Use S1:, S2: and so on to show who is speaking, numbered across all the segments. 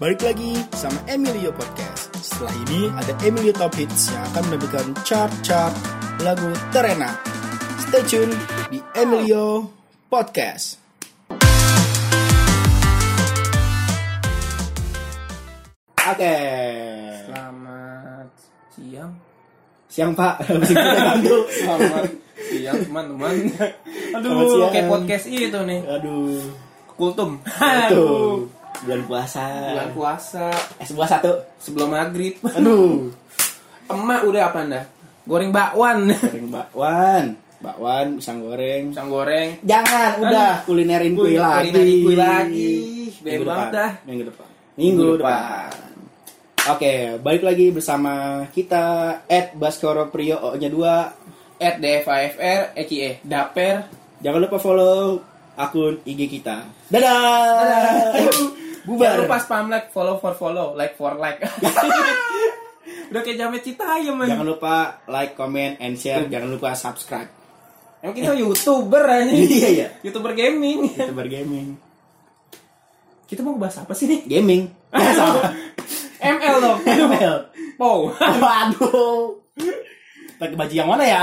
S1: Balik lagi sama Emilio Podcast. Setelah ini ada Emilio Top Hits yang akan menampilkan chart-chart lagu terenak. Stay tune di Emilio Podcast. Oke.
S2: Selamat siang.
S1: Siang Pak, Musik kita bantu.
S2: Selamat siang teman-teman.
S1: Selamat
S2: Aduh,
S1: siang.
S2: kayak podcast itu nih.
S1: Aduh.
S2: Kultum.
S1: Tuh. Bulan puasa.
S2: Bulan puasa
S1: Es buah satu.
S2: sebelum maghrib.
S1: Aduh.
S2: Emak udah apa anda? Goreng bakwan.
S1: Goreng bakwan. Bakwan, pisang goreng.
S2: Pisang goreng.
S1: Jangan, udah Kan kulinerin kue lagi.
S2: Kulinerin kue lagi. Bebang
S1: Minggu depan.
S2: dah.
S1: Minggu depan. Minggu depan. Oke, balik lagi bersama kita at Baskoro Prio O-nya 2.
S2: At DFAFR, EKE, E. Daper.
S1: Jangan lupa follow akun IG kita. Dadah. Bubar.
S2: Jangan lupa spam like, follow for follow, like for like. udah kayak jamet citayam
S1: Jangan
S2: man.
S1: lupa like, comment, and share. Jangan lupa subscribe.
S2: Emang kita youtuber aja.
S1: Iya, iya.
S2: Youtuber gaming.
S1: YouTuber gaming.
S2: Kita mau bahas apa sih nih?
S1: Gaming. Ya, sama.
S2: ML dong.
S1: ML.
S2: Wow.
S1: Waduh. Pakai baju yang mana ya?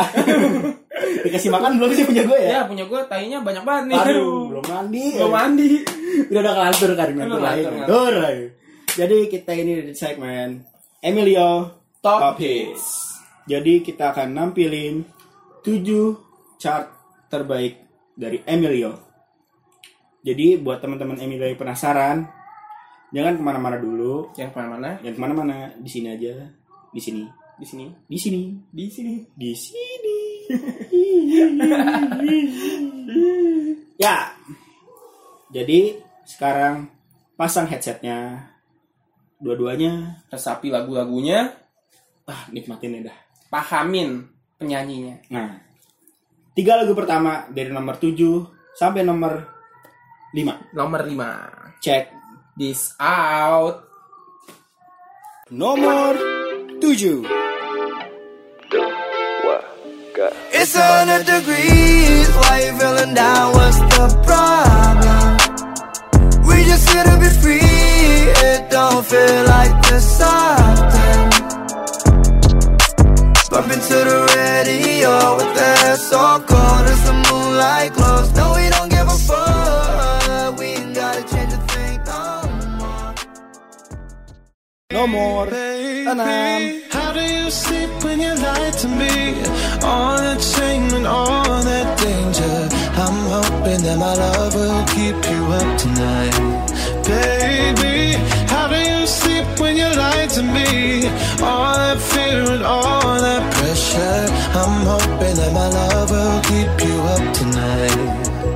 S1: Dikasih makan belum sih punya gue ya?
S2: Ya punya gue tainya banyak banget nih.
S1: Aduh, belum mandi.
S2: Belum mandi.
S1: Udah udah ngelantur kan, ngelantur
S2: Belum
S1: lagi.
S2: ngelantur,
S1: Ngelantur lagi. Jadi kita ini di segmen Emilio
S2: Top
S1: Hits. Jadi kita akan nampilin 7 chart terbaik dari Emilio. Jadi buat teman-teman Emilio yang penasaran, jangan kemana-mana dulu.
S2: Yang mana-mana
S1: Jangan kemana-mana, di sini aja, di sini,
S2: di sini.
S1: di sini,
S2: Di sini.
S1: di sini. ya. Jadi sekarang pasang headsetnya. Dua-duanya
S2: Resapi lagu-lagunya,
S1: ah nikmatin ya dah.
S2: pahamin penyanyinya.
S1: Nah. Tiga lagu pertama dari nomor 7 sampai nomor 5.
S2: Nomor 5.
S1: Cek
S2: This out.
S1: nomor 7.
S3: It's a hundred degrees. Why you feeling down? What's the problem? We just here to be free. It don't feel like there's something. Bump into the radio with the air so cold as the moonlight glows. No, we don't give a fuck. We ain't gotta change a thing no more.
S1: Nomor
S4: Baby, How do you sleep when you lie to me? All that shame and all that danger. I'm hoping that my love will keep you up tonight. Baby, how do you sleep when you lie to me? All that fear and all that pressure. I'm hoping that my love will keep you up tonight.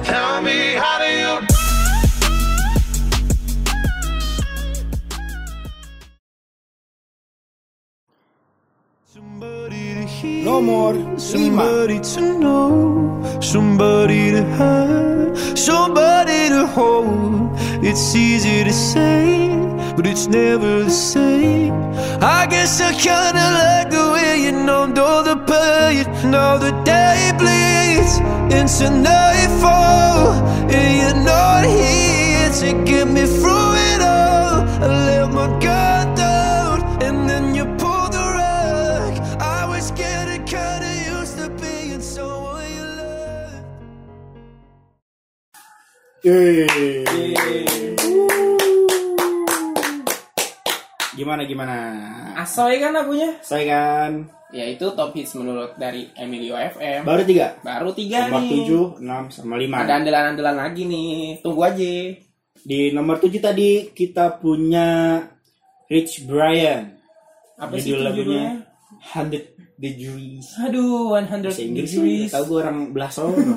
S4: Tell me, how do you? Somebody to hear.
S1: Nomor 5.
S4: Somebody to know, somebody to have, somebody to hold. It's easy to say, but it's never the same. I guess I kinda like the way you numbed all the pain. Now the day bleeds into nightfall, and you're not here to get me through it all. I let my guard down, and then you pulled the rug. I was getting kinda used to being someone you love.
S1: Gimana gimana?
S2: Asoy kan lagunya?
S1: Saya kan
S2: Ya itu top hits menurut dari Emilio FM.
S1: baru tiga.
S2: Baru tiga
S1: Nomor
S2: Iya nih.
S1: 7, 6 sama 5.
S2: Ada andalan-andalan lagi nih. Tunggu aja.
S1: Di nomor 7 tadi kita punya Rich Brian.
S2: Apa sih
S1: Judul
S2: itu judulnya?
S1: lagunya 100 Degrees.
S2: Aduh, 100
S1: Bahasa Inggris sih,
S2: degrees.
S1: tahu gue orang belah sono.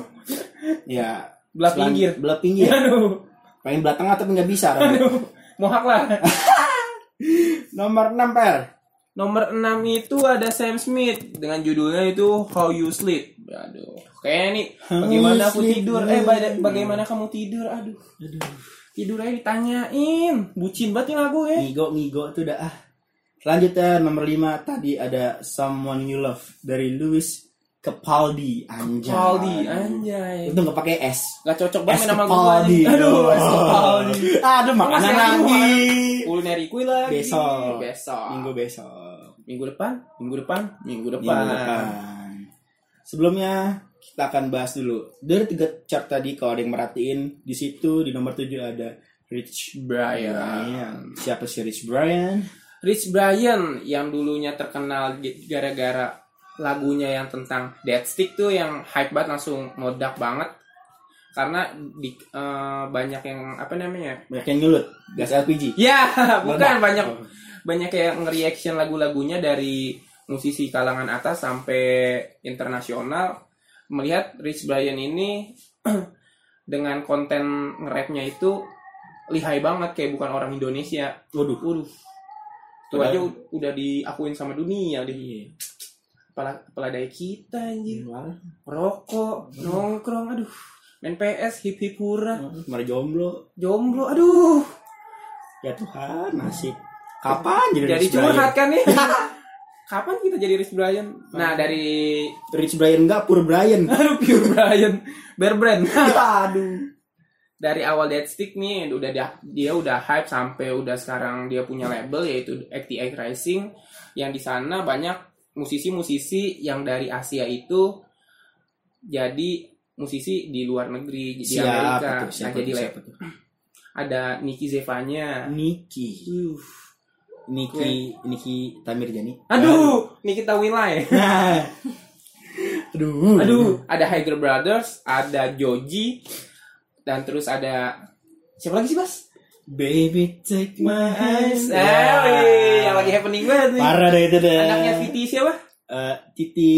S1: ya,
S2: Belah
S1: selang-
S2: pinggir.
S1: Belah pinggir.
S2: Aduh.
S1: Pengen belah tengah tapi nggak bisa. Ram.
S2: Aduh. Mohak lah.
S1: nomor 6 per.
S2: Nomor 6 itu ada Sam Smith dengan judulnya itu How You Sleep. Aduh, kayaknya nih bagaimana
S1: you
S2: aku
S1: sleep,
S2: tidur? Eh, baga- bagaimana kamu tidur? Aduh. Tidur aja ditanyain. Bucin banget nih lagu ya.
S1: Ngigo ngigo tuh udah ah. Selanjutnya nomor 5 tadi ada Someone You Love dari Louis Capaldi anjay.
S2: Capaldi, anjay.
S1: Itu nggak pakai S.
S2: Gak cocok
S1: Es
S2: banget nama gue.
S1: Capaldi.
S2: Aduh,
S1: Oh.
S2: es Capaldi.
S1: Aduh, makna
S2: Makasih, aduh,
S1: lagi.
S2: Culinary kui lagi.
S1: Besok.
S2: Besok.
S1: Minggu besok.
S2: Minggu depan, minggu depan, minggu depan.
S1: Minggu depan. Sebelumnya kita akan bahas dulu dari tiga chart tadi kalau ada yang merhatiin di situ di nomor 7 ada Rich
S2: Brian.
S1: Brian. Siapa sih Rich Brian?
S2: Rich Brian yang dulunya terkenal di- gara-gara lagunya yang tentang Dead Stick tuh yang hype banget langsung meledak banget karena di, eh, banyak yang apa namanya
S1: Banyak yang nyulut gas LPG.
S2: ya
S1: Meledak.
S2: bukan banyak banyak yang nge-reaction lagu-lagunya dari musisi kalangan atas sampai internasional melihat Rich Brian ini dengan konten nge-rapnya itu lihai banget kayak bukan orang Indonesia
S1: Waduh.
S2: Waduh. Itu
S1: Padahal-
S2: aja u- udah diakuin sama dunia deh.
S1: Iya.
S2: Kepala, kepala daya kita anjir. Rokok, nongkrong, aduh. Main PS, hip hip hura,
S1: Kemarin jomblo.
S2: jomblo, aduh.
S1: Ya Tuhan, nasib. Kapan jadi,
S2: Jadi
S1: Rich Brian?
S2: curhat kan nih. Kapan kita jadi Rich Brian? Nah dari
S1: Rich Brian enggak, Pur Brian.
S2: Aduh Pure Brian Bear Brand
S1: Aduh.
S2: Dari awal Dead Stick nih udah dia, dia udah hype sampai udah sekarang dia punya label yaitu XTX Rising yang di sana banyak musisi-musisi yang dari Asia itu jadi musisi di luar negeri di
S1: Siapa
S2: Amerika.
S1: tuh? Siapa
S2: nah, jadi Nah.
S1: tuh?
S2: lab-
S1: Siapa tuh?
S2: ada Nicky Zevanya.
S1: Hmm. Niki. Niki, Niki Tamirjani.
S2: Aduh, Nikita Wilay.
S1: Nah. Aduh.
S2: ya. Aduh, ada Higher Brothers, ada Joji, dan terus ada siapa lagi sih, Bas?
S1: Baby take my hands. Ah.
S2: Nah, wih, yang lagi happening banget nih.
S1: ya. Parah deh itu deh.
S2: Anaknya Viti siapa?
S1: Eh, Titi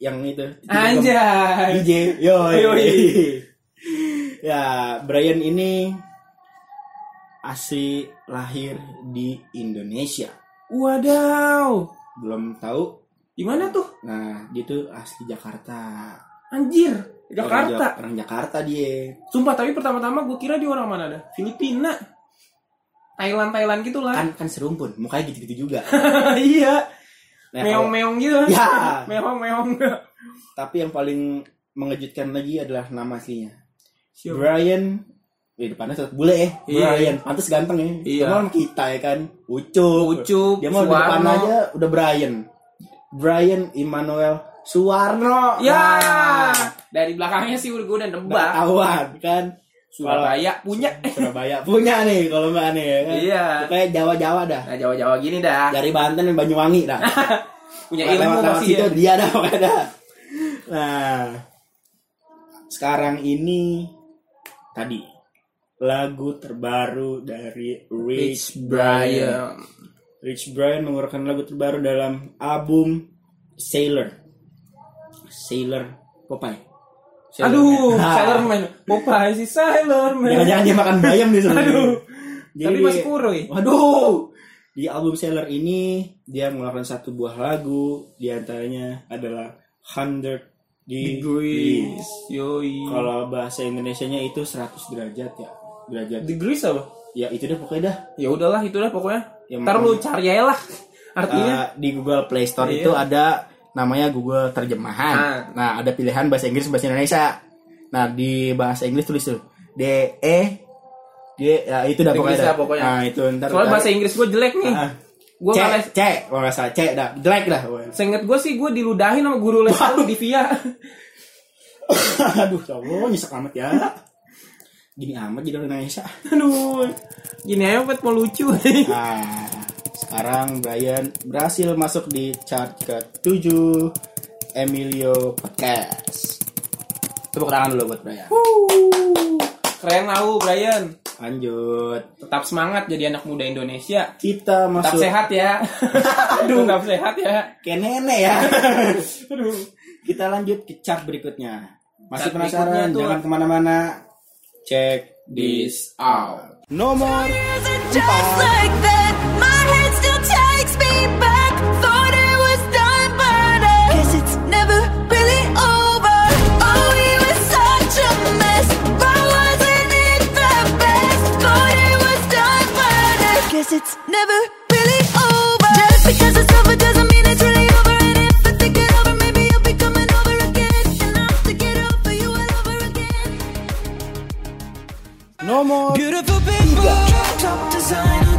S1: yang itu. Titi
S2: Anjay.
S1: DJ. Yo.
S2: Yoi.
S1: ya, Brian ini asli lahir di Indonesia.
S2: Wadaw.
S1: Belum tahu.
S2: Gimana tuh?
S1: Nah, dia tuh asli Jakarta.
S2: Anjir.
S1: Orang, Ja-
S2: Jakarta.
S1: orang Jakarta dia.
S2: Sumpah, tapi pertama-tama gue kira dia orang mana dah? Filipina. Thailand-Thailand gitu lah.
S1: Kan kan serumpun, mukanya gitu-gitu juga.
S2: iya.
S1: Nah, kalau-
S2: Meong-meong gitu.
S1: Kan? Ya.
S2: Meong-meong.
S1: tapi yang paling mengejutkan lagi adalah nama aslinya.
S2: Siapa?
S1: Brian di depannya tetap bule ya
S2: Iya.
S1: Brian pantas ganteng ya
S2: Iya.
S1: Cuma sama kita ya kan Ucup
S2: Ucup,
S1: dia mau di depan
S2: Suwarno.
S1: aja udah Brian Brian Immanuel Suwarno
S2: Ya.
S1: Nah,
S2: Dari belakangnya sih gue udah
S1: udah
S2: nebak.
S1: ketahuan kan
S2: Surabaya punya.
S1: Kalau- Surabaya punya nih kalau mbak nih ya kan
S2: Iya.
S1: Pokoknya Jawa-Jawa dah
S2: Nah, Jawa-Jawa gini dah.
S1: dari Banten dan Banyuwangi dah
S2: Punya
S1: Lewat-
S2: ilmu
S1: lewat Nah,
S2: pasti
S1: situ
S2: ya.
S1: dia dah pokoknya dah. Nah, sekarang ini tadi lagu terbaru dari Rich Brian.
S2: Brian.
S1: Rich Brian mengeluarkan lagu terbaru dalam album Sailor. Sailor Popeye. Sailor Man.
S2: Aduh, Iya. Sailor Man. Popeye si Sailor Man.
S1: Jangan-jangan dia makan bayam di sana.
S2: Aduh.
S1: Jadi
S2: Tapi
S1: dia-
S2: masih kuro ya.
S1: Waduh. Di album Sailor ini dia mengeluarkan satu buah lagu di antaranya adalah 100 Degrees.
S2: Degrees. Yoi.
S1: Kalau bahasa Indonesianya itu 100 derajat ya. Derajat.
S2: Degrees apa?
S1: Ya itu deh pokoknya dah.
S2: Ya udahlah, itulah pokoknya.
S1: Ya,
S2: Ntar lu cari aja lah.
S1: Eh,
S2: Artinya
S1: di Google Play Store
S2: Iya.
S1: itu ada namanya Google terjemahan.
S2: Ah.
S1: Nah, ada pilihan bahasa Inggris bahasa Indonesia. Nah, di bahasa Inggris tulis tuh D E D ya, itu dah pokoknya.
S2: Degrees lah
S1: dah.
S2: pokoknya.
S1: Nah, itu ntar
S2: soalnya bahasa Inggris gue jelek nih.
S1: Ah.
S2: Gue
S1: C,
S2: malah
S1: C, kalau nggak salah, C dah, jelek dah.
S2: Seinget gue sih gue diludahin sama guru les lu di VIA
S1: Aduh, cowok nyesek amat ya. Gini amat jadi orang Indonesia.
S2: Aduh Gini aja buat mau lucu
S1: Nah, sekarang Brian berhasil masuk di chart ke-7 Emilio Podcast. Tepuk tangan dulu buat Brian.
S2: Keren lah lu Brian
S1: Lanjut.
S2: Tetap semangat jadi anak muda Indonesia
S1: Kita
S2: Tetap
S1: masuk
S2: sehat ya Aduh Tetap sehat ya
S1: ke nenek ya.
S2: Aduh
S1: Kita lanjut ke chart berikutnya. Masih
S2: Chart berikutnya
S1: penasaran?
S2: tuh-
S1: Jangan kemana-mana. Cek
S2: This out
S1: nomor
S5: Just like that, my head still takes me back. Thought it was done, but I guess it's never really over. Oh, we were such a mess, but wasn't it the best? Thought it was done, but I guess it's never really over. Just because it's over doesn't mean it's really over. And if I think it over, maybe you'll be coming over again, and I'll stick it up for you all over again.
S1: nomor
S3: Beautiful people, top designer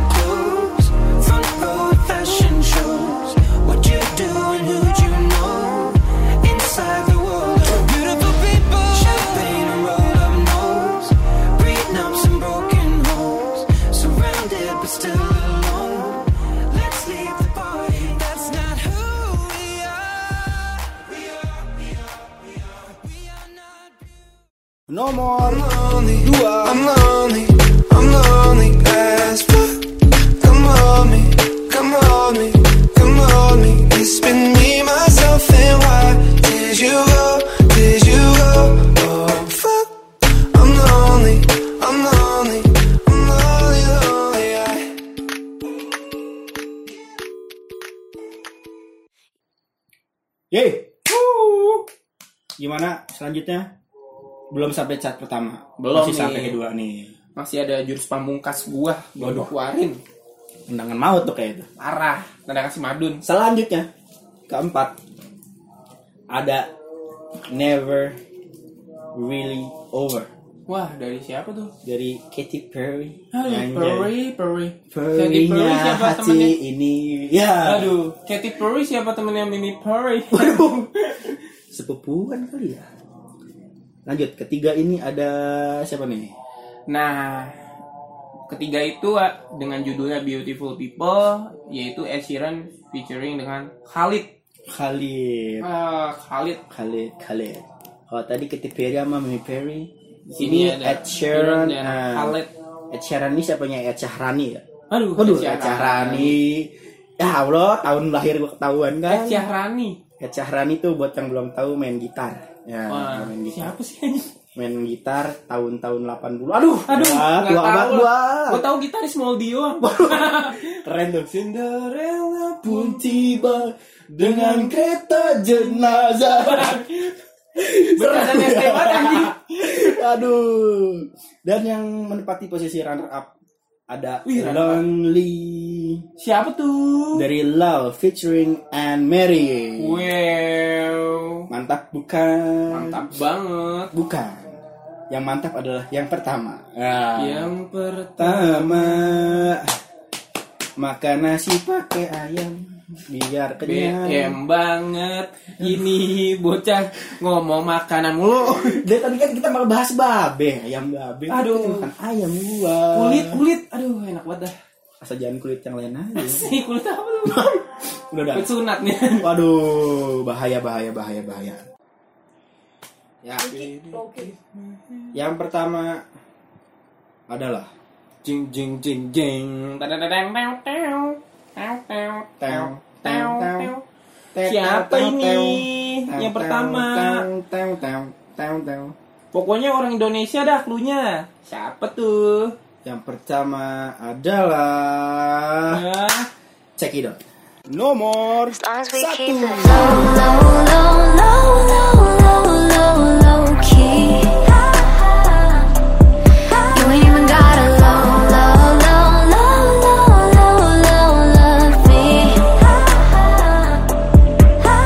S1: nomor
S3: lonely.
S1: dua
S3: I'm lonely. I'm lonely as fuck. Come on me. Come on me. Come on me. It's been me, myself, and why did you go? Did you go? Oh fuck. I'm lonely. I'm lonely. I'm lonely, lonely. I-
S1: Yeay. Wuh. Gimana selanjutnya? Belum sampai cat pertama.
S2: Belum
S1: Masih
S2: nih.
S1: sampai kedua nih.
S2: Masih ada jurus pamungkas gua gua
S1: Waduh.
S2: keluarin.
S1: Tendangan maut tuh kayak itu.
S2: Parah. Tanda kasih madun.
S1: Selanjutnya keempat ada Never Really Over
S2: Wah, dari siapa tuh?
S1: dari Katy Perry.
S2: Aduh,
S1: Anjay.
S2: Perry, Perry. Katy
S1: Perry-nya
S2: Perry siapa
S1: hati
S2: temennya?
S1: ini ya
S2: Aduh, Katy Perry siapa temennya Mimi Perry?
S1: sepupuan kali ya lanjut ketiga ini ada siapa nih
S2: Nah, ketiga itu ah, dengan judulnya Beautiful People, yaitu Ed Sheeran featuring dengan Khalid.
S1: Khalid
S2: Ah, Khalid.
S1: Khalid Khalid oh tadi Katy Perry sama Mimi Perry ini
S2: Sini ada
S1: Ed Sheeran
S2: Sheeran dan
S1: ah,
S2: Khalid.
S1: Ed Sheeran ini siapanya Ed Syahrani ya
S2: Aduh,
S1: Waduh,
S2: Ed
S1: Ed Syahrani. Ya Allah, tahun lahir gua ketahuan
S2: Ed
S1: kan.
S2: Syahrani.
S1: Ed Syahrani tuh buat yang belum tahu main gitar. Ya,
S2: Wah,
S1: main gitar.
S2: siapa sih ini?
S1: Main gitar tahun-tahun 80. Aduh,
S2: Aduh,
S1: ya,
S2: nggak
S1: tua
S2: tahu
S1: amat
S2: lah.
S1: gua.
S2: Gua tahu gitaris Moldy doang.
S1: Keren tuh. Cinderella pun tiba dengan kereta jenazah.
S2: Berasa neste banget anjing.
S1: Aduh. Dan yang menempati posisi runner up ada
S2: Wih, runner up.
S1: Lonely
S2: Siapa tuh?
S1: dari Love featuring Anne Mary.
S2: Wow.
S1: Mantap bukan?
S2: Mantap banget.
S1: Bukan. Yang mantap adalah yang pertama. Ah.
S2: Yang pertama
S1: pertama. Makan nasi pakai ayam biar
S2: Iya.
S1: kenyang.
S2: BM banget ini bocah ngomong makanan mulu
S1: Dari tadi kan kita malah bahas babe, ayam babe.
S2: Aduh.
S1: Kita makan ayam gua.
S2: kulit kulit aduh enak banget dah
S1: Asal jangan kulit yang lain aja.
S2: sih kulit apa lu
S1: Udah dah.
S2: kulit sunat nih
S1: Waduh, bahaya bahaya bahaya bahaya. Ya, yang pertama adalah
S2: jing jing jing jing Tadadadang, tew, tew. Tew, Hmm. tew, tew, tew, tew. siapa ini yang pertama
S1: teng teng teng teng
S2: pokoknya orang Indonesia dah klunya siapa tuh
S1: yang pertama adalah
S2: ah
S1: cekidot nomor
S5: As we
S1: satu
S5: keep it low, low, low, low, low, low, low, low key. You ain't even gotta low, low, low, low, low, low, low, love me.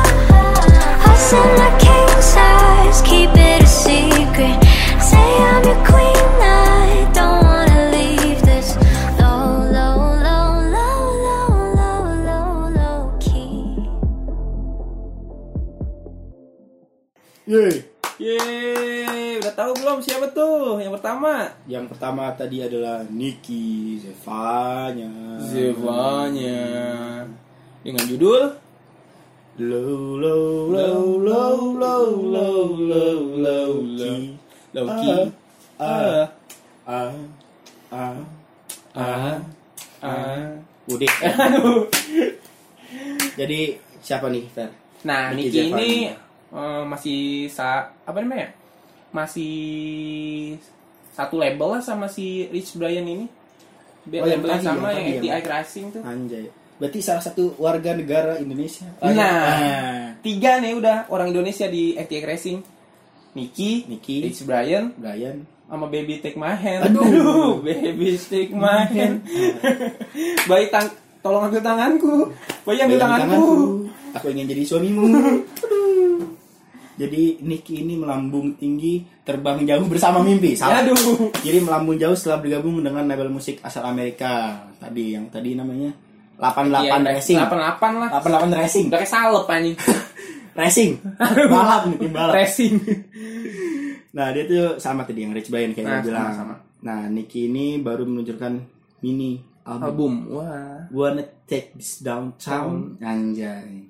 S5: Us in the king size, keep it a secret. Say I'm your queen, I don't wanna leave this low, low, low, low, low, low, low, low key.
S1: Yeay.
S2: Ya. Yeay, udah tahu belum siapa tuh yang pertama?
S1: yang pertama tadi adalah Niki Zevanya
S2: Zevanya dengan judul
S1: low low low low low low low low low
S2: Loki.
S1: ah ah ah
S2: ah,
S1: Nah,
S2: ah.
S1: Udah. Jadi siapa nih Fer?
S2: Nah,
S1: Niki
S2: Niki ini
S1: Zevanya.
S2: eh, masih sa apa namanya? Masih satu label lah sama si Rich Brian ini. Be-
S1: Oh, yang
S2: labelnya
S1: tadi,
S2: sama
S1: yang
S2: yang
S1: tadi, yang-
S2: ATI Rising tuh.
S1: Anjay. Berarti salah satu warga negara Indonesia. Ah,
S2: Nah, tiga nih udah orang Indonesia di ATI Rising. Niki,
S1: Niki.
S2: Rich Brian,
S1: Brian.
S2: sama baby take my hand
S1: Aduh.
S2: baby take my hand bayi tang tolong ambil tanganku bayi ambil
S1: Bayang
S2: tanganku
S1: Aku ingin jadi suamimu. Aduh. jadi Niki ini melambung tinggi, terbang jauh bersama mimpi. Salah.
S2: aduh
S1: Jadi melambung jauh setelah bergabung dengan label musik asal Amerika. Tadi yang tadi namanya 88
S2: Iya,
S1: Racing.
S2: 88 lah
S1: 88 Racing.
S2: udah kayak salep anjing
S1: Racing. Balap nih, tim balap.
S2: racing
S1: Nah dia tuh sama tadi yang Rich Brian kayak
S2: Nah,
S1: gue Iya, bilang.
S2: sama-sama.
S1: Nah Nicky ini baru meluncurkan mini album.
S2: album wah
S1: Wanna Take This Downtown Anjay.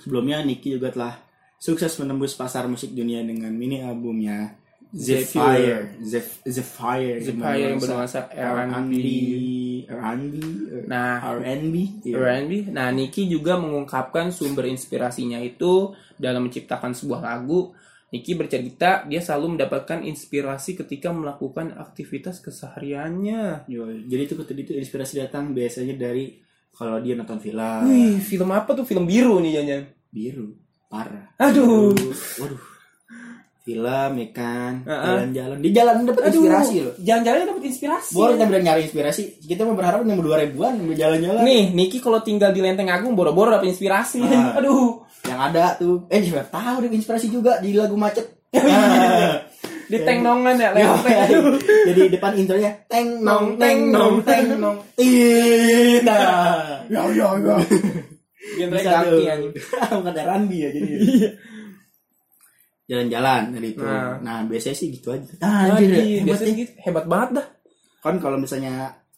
S1: Sebelumnya Nicky juga telah sukses menembus pasar musik dunia dengan mini albumnya Zephyr, Zeph- Zephyr,
S2: Zephyr yang bernuansa
S1: R&B,
S2: R&B.
S1: R&B,
S2: Nah.
S1: R&B, iya.
S2: R&B. Nah, Niki juga mengungkapkan sumber inspirasinya itu dalam menciptakan sebuah lagu. Niki bercerita dia selalu mendapatkan inspirasi ketika melakukan aktivitas kesehariannya.
S1: Yoi. Jadi itu tadi itu inspirasi datang biasanya dari kalau dia nonton film
S2: Wih, film apa tuh? Film biru nih Janjan.
S1: biru parah.
S2: Aduh.
S1: Waduh. Film ya kan
S2: Heeh.
S1: jalan-jalan di jalan dapat
S2: Aduh, Iya.
S1: inspirasi loh.
S2: Jangan-jangan dapat inspirasi.
S1: Baru kita bilang nyari inspirasi, kita mau berharap nemu dua ribuan mau jalan-jalan.
S2: Nih, Niki kalau tinggal di Lenteng Agung boro-boro dapat inspirasi.
S1: Ah.
S2: Aduh.
S1: Yang ada tuh, eh siapa tahu dia inspirasi juga di lagu macet.
S2: Di
S1: Iya.
S2: tengnongan ya,
S1: Yo,
S2: lenteng. Aduh.
S1: Jadi depan intronya teng nong teng nong teng nong.
S2: Tina.
S1: Ya ya ya.
S2: Genre ganti anjing. Iya.
S1: Bukan ada Randi ya jadi. Jalan-jalan dari itu.
S2: Nah.
S1: Nah. biasanya sih gitu aja.
S2: Anjir,
S1: hebat
S2: Nah, biasanya
S1: nih.
S2: gitu. Hebat banget dah.
S1: Kan kalau misalnya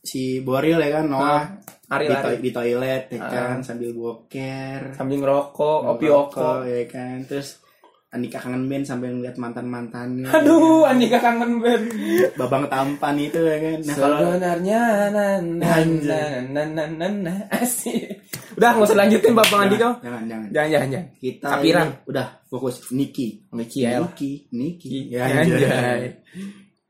S1: si Boril ya kan Noah
S2: Ari
S1: di, to-
S2: lari
S1: di toilet ya
S2: Nah.
S1: kan sambil boker,
S2: sambil ngerokok, opi oko.
S1: ngerokok, ya kan. Terus Andika kangen band sambil ngeliat mantan-mantannya.
S2: Aduh, Andika kangen banget.
S1: ya kan. Babang tampan itu ya kan. Nah, kalau
S2: Sebenarnya na na na na na na na asik. Udah nggak usah lanjutin Bapak
S1: jangan,
S2: Andika.
S1: jangan, jangan.
S2: Jangan jangan jangan.
S1: Kita
S2: Kapiran.
S1: ini udah fokus Niki.
S2: Niki ya. lah.
S1: Niki, Niki. Iya,
S2: Ya,
S1: anjay.
S2: anjay.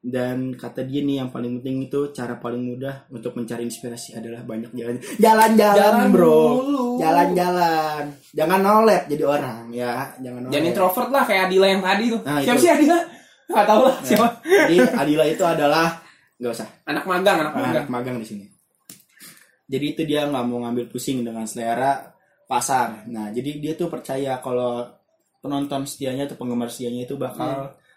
S1: Dan kata dia nih yang paling penting itu cara paling mudah untuk mencari inspirasi adalah banyak jalan. Jalan-jalan,
S2: Jalan
S1: bro.
S2: dulu.
S1: Jalan-jalan. Jangan nolet jadi orang ya, jangan nolet.
S2: Jangan introvert lah kayak Adila yang tadi tuh.
S1: Nah,
S2: siapa
S1: itu.
S2: sih Adila? Gak tau lah siapa.
S1: Nah, Jadi Adila itu adalah nggak usah
S2: Anak magang, anak magang.
S1: anak magang di sini. Jadi itu dia nggak mau ngambil pusing dengan selera pasar. Nah, jadi dia tuh percaya kalau penonton setianya atau penggemar setianya itu
S2: Hmm.
S1: bakal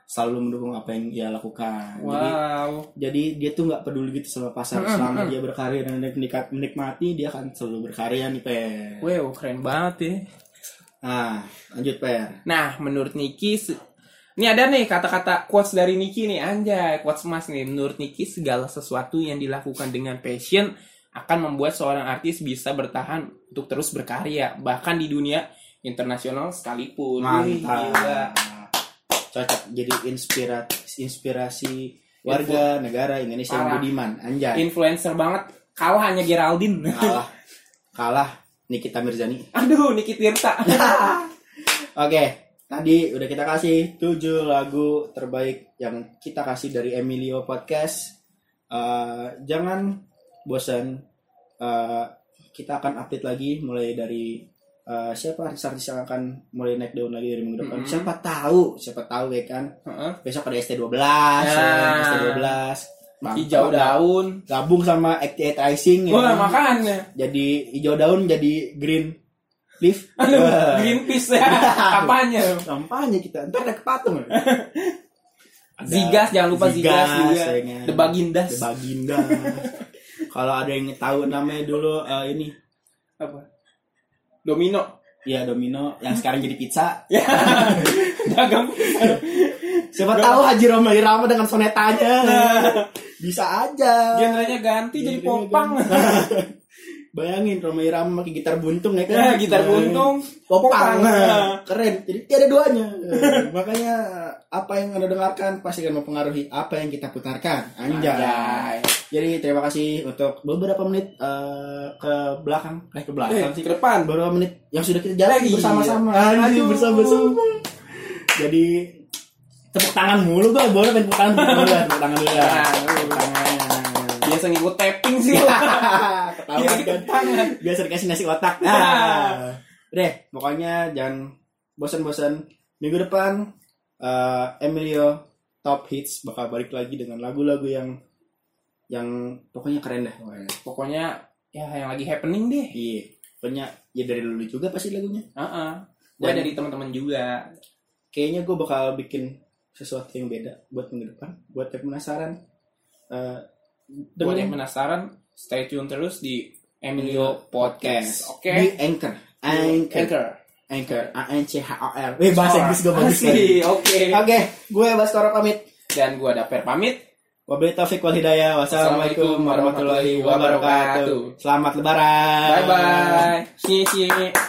S1: selalu mendukung apa yang dia lakukan. Jadi
S2: Wow.
S1: jadi dia tuh nggak peduli gitu sama pasar
S2: Hmm,
S1: selama dia berkarir dan dia menik- menikmati dia akan selalu berkarya nih per
S2: Wow, keren banget ya.
S1: nah lanjut per
S2: Nah, menurut Niki, se- ini ada nih kata-kata quotes dari Niki nih, anjay, quotes mas nih. Menurut Niki, segala sesuatu yang dilakukan dengan passion akan membuat seorang artis bisa bertahan untuk terus berkarya, bahkan di dunia internasional sekalipun. Wih, gila.
S1: mantap cocok jadi inspirasi inspirasi warga negara Indonesia yang
S2: Parah.
S1: budiman anjay
S2: Influencer banget, kalah hanya Geraldine.
S1: kalah kalah Nikita Mirzani
S2: Aduh, Niki Tirta.
S1: oke tadi udah kita kasih 7 lagu terbaik yang kita kasih dari Emilio Podcast Eh, jangan bosan Eh, kita akan update lagi mulai dari eh, siapa artis-artis yang akan mulai naik daun lagi dari minggu depan
S2: Mm-mm.
S1: siapa tahu siapa tahu ya kan
S2: Heeh.
S1: besok ada ST12 ya.
S2: Nah.
S1: ST12 Bang,
S2: Hijau
S1: ada
S2: daun.
S1: gabung sama activate Rising ya
S2: Wah,
S1: kan?
S2: makanya.
S1: jadi hijau daun jadi green leaf
S2: Aduh,
S1: Wah.
S2: Greenpeace ya. Apanya?
S1: kampanye kita ntar ada kepatung ya. Ada
S2: Zigas, jangan lupa Zigas, juga.
S1: ya kan?
S2: The Bagindas.
S1: The Bagindas. kalau ada yang tahu namanya dulu eh, ini
S2: Apa? Domino.
S1: ya Domino yang sekarang jadi pizza
S2: Ya. Dagang.
S1: siapa tahu Haji Roma Irama dengan sonetanya
S2: Nah.
S1: bisa aja
S2: Genrenya ganti jadi popang.
S1: bayangin Roma Irama pakai gitar buntung ya
S2: Ya,
S1: kan
S2: gitar buntung,
S1: popang
S2: Nah.
S1: keren jadi tiada duanya Eh, makanya apa yang anda dengarkan pasti akan mempengaruhi apa yang kita putarkan anjay,
S2: Anjay.
S1: jadi terima kasih untuk beberapa menit eh, ke belakang eh ke belakang
S2: Eh,
S1: sih
S2: ke depan.
S1: beberapa menit yang sudah kita jalani
S2: Iya.
S1: bersama-sama
S2: Aduh.
S1: bersama-sama jadi tepuk tangan mulu gue boleh main tepuk tangan dulu lah, tepuk tangan dulu lah.
S2: Nah,
S1: Tepuk tangan
S2: Biasa ngikut tapping sih.
S1: ketahuan
S2: Iya,
S1: kan
S2: tangan.
S1: biasa dikasih nasi otak
S2: Iya.
S1: nah. deh pokoknya jangan bosan-bosan minggu depan eh, Emilio Top Hits bakal balik lagi dengan lagu-lagu yang yang pokoknya keren dah
S2: Pokoknya ya yang lagi happening deh.
S1: iya pokoknya ya dari dulu juga pasti lagunya
S2: Heeh. Gue
S1: Dan-
S2: dari teman-teman juga.
S1: kayaknya gue bakal bikin sesuatu yang beda buat minggu depan buat yang penasaran Eh,
S2: Buat
S1: dengerin
S2: yang penasaran, stay tune terus di Emilio Podcast. Iya. Oke.
S1: di Anchor Anchor
S2: Anchor.
S1: Anchor A N C H O R eh bahasa Inggris gue bagus
S2: Asik,
S1: sekali
S2: Oke.
S1: Oke, gue Bas Koro pamit.
S2: Dan gue ada per pamit.
S1: Wabillahi taufiq wal hidayah. Wassalamualaikum warahmatullahi wabarakatuh. Selamat lebaran.
S2: Bye bye. See you, see you.